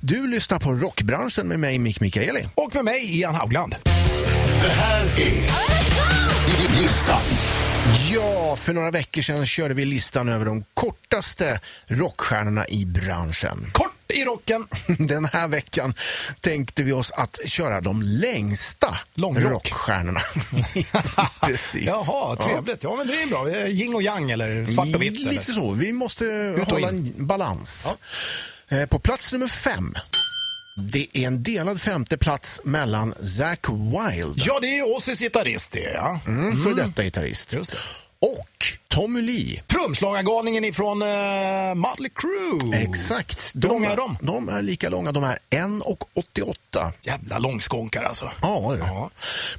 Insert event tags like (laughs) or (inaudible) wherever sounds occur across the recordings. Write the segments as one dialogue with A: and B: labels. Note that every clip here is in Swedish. A: Du lyssnar på Rockbranschen med mig, Mick Mikaeli.
B: Och med mig, Ian Haugland.
C: Det här är listan.
A: Ja, för några veckor sedan körde vi listan över de kortaste rockstjärnorna i branschen. (laughs)
B: Kort i rocken.
A: Den här veckan tänkte vi oss att köra de längsta
B: Långrock. (laughs)
A: rockstjärnorna. Precis.
B: Jaha, trevligt. Ja, men det är bra. Eh, Yin och yang eller svart och vitt. eller?
A: Lite så. Vi måste
B: och
A: hålla
B: in.
A: en balans. Eh, På plats nummer fem. Det är en delad femte plats mellan Zack Wilde,
B: Ja, det är Ossis gitarrist det, ja.
A: mm. före detta gitarrist,
B: Just det.
A: och Tommy Lee.
B: Trumslagargalningen ifrån uh, Mötley Crue.
A: Exakt.
B: Oh. Hur långa är de?
A: De är lika långa. De är 1,88.
B: Jävla långskånkar alltså.
A: Ja, det är.
B: Ja.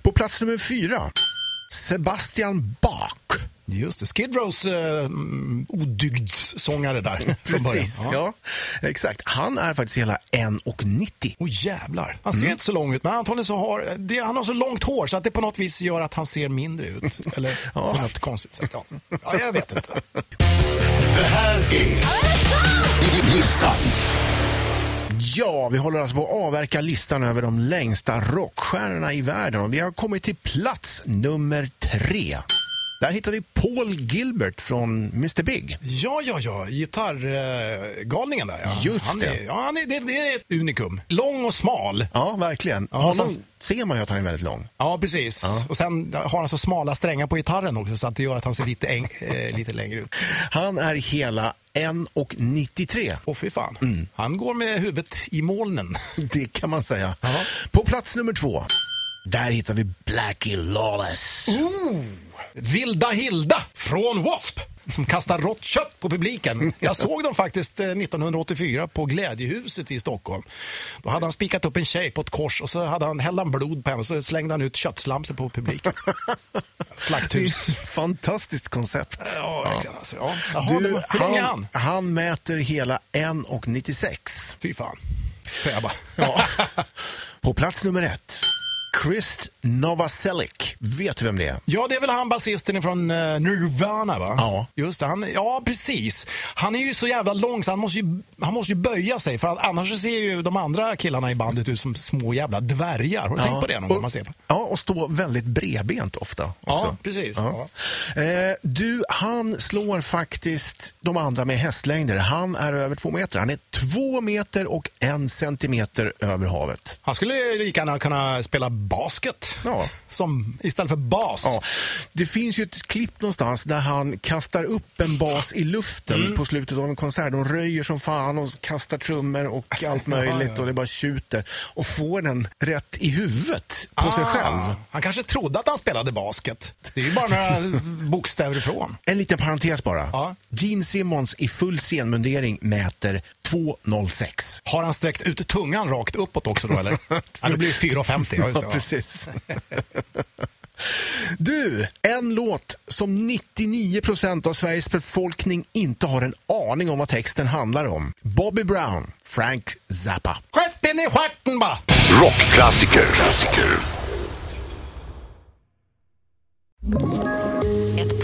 A: På plats nummer fyra, Sebastian Bach.
B: Just det. Skid Rows eh, mm,
A: (laughs)
B: odygdssångare där. från
A: Precis,
B: början.
A: ja. Exakt. Han är faktiskt hela 1,90.
B: Åh jävlar. Han
A: Mm.
B: ser inte så lång ut, men antagligen så har det, han har så långt hår så att det på något vis gör att han ser
A: (laughs)
B: mindre ut. Eller
A: Ja.
B: på något konstigt sätt. Ja. ja, jag vet inte.
C: Det här är listan.
A: Ja, vi håller alltså på att avverka listan över de längsta rockstjärnorna i världen och vi har kommit till plats nummer tre. Där hittar vi Paul Gilbert från Mr Big.
B: Ja, ja, ja. Gitarrgalningen där. Ja.
A: Just
B: han
A: det.
B: Är, ja, han är, det, det är ett unikum. Lång och smal.
A: Ja, verkligen.
B: Ja,
A: Honom
B: någonstans-
A: ser man ju att han är väldigt lång.
B: Ja, precis. Och sen har han så smala strängar på gitarren också så att det gör att han ser lite, äng, (laughs) eh, lite längre ut.
A: Han är hela 1,93.
B: Åh, fy fan.
A: Mm.
B: Han går med huvudet i molnen.
A: (laughs) Det kan man säga.
B: Ja.
A: På plats nummer två, där hittar vi Blackie Lawless.
B: Vilda Hilda från W.A.S.P. Som kastar rått kött på publiken. Jag såg dem faktiskt eh, 1984 på Glädjehuset i Stockholm. Då hade han spikat upp en tjej på ett kors och så hade han, hällde han blod på henne och så slängde han ut köttslamsor på (laughs) publiken. Slakthus.
A: Fantastiskt koncept.
B: Ja, verkligen alltså. Ja. Jaha,
A: Du,
B: det var- hur lång är han?
A: Han mäter hela 1,96.
B: Fy fan. Säger jag bara.
A: Ja. På plats nummer ett, Chris Novoselic. Vet du vem det är?
B: Ja, det är väl han basisten från eh, Nirvana, va?
A: Ja.
B: Just det, han, ja precis. Han är ju så jävla lång så han måste ju, han måste ju böja sig för att, annars så ser ju de andra killarna i bandet ut som små jävla dvärgar. Har du tänkt på det någon gång?
A: Och-
B: Man ser det.
A: Ja, och står väldigt bredbent ofta. också.
B: precis.
A: Ja. Eh, du, han slår faktiskt de andra med hästlängder. Han är över två meter. Han är två meter och en centimeter över havet.
B: Han skulle ju lika gärna kunna spela basket
A: Ja.
B: som, istället för bas.
A: Ja, det finns ju ett klipp någonstans där han kastar upp en bas i luften
B: Mm.
A: på slutet av en konsert. De röjer som fan och kastar trummor
B: (laughs)
A: och allt möjligt och det bara tjuter. Och får den rätt i huvudet på sig
B: Ah,
A: själv.
B: Han kanske trodde att han spelade basket. Det är ju
A: (laughs)
B: bara några bokstäver ifrån.
A: En liten parentes bara.
B: Ja.
A: Gene Simmons i full scenmundering mäter 2,06.
B: Har han sträckt ut tungan rakt uppåt också
A: (laughs)
B: då eller? ja, det blir 4,50. Ja, just det,
A: Ja,
B: ja.
A: precis. (laughs) Du, en låt som 99 av Sveriges befolkning inte har en aning om vad texten handlar om. Bobby Brown, Frank Zappa.
B: Stjärten i stjärten bara!
C: Rockklassiker. Klassiker.
D: Ett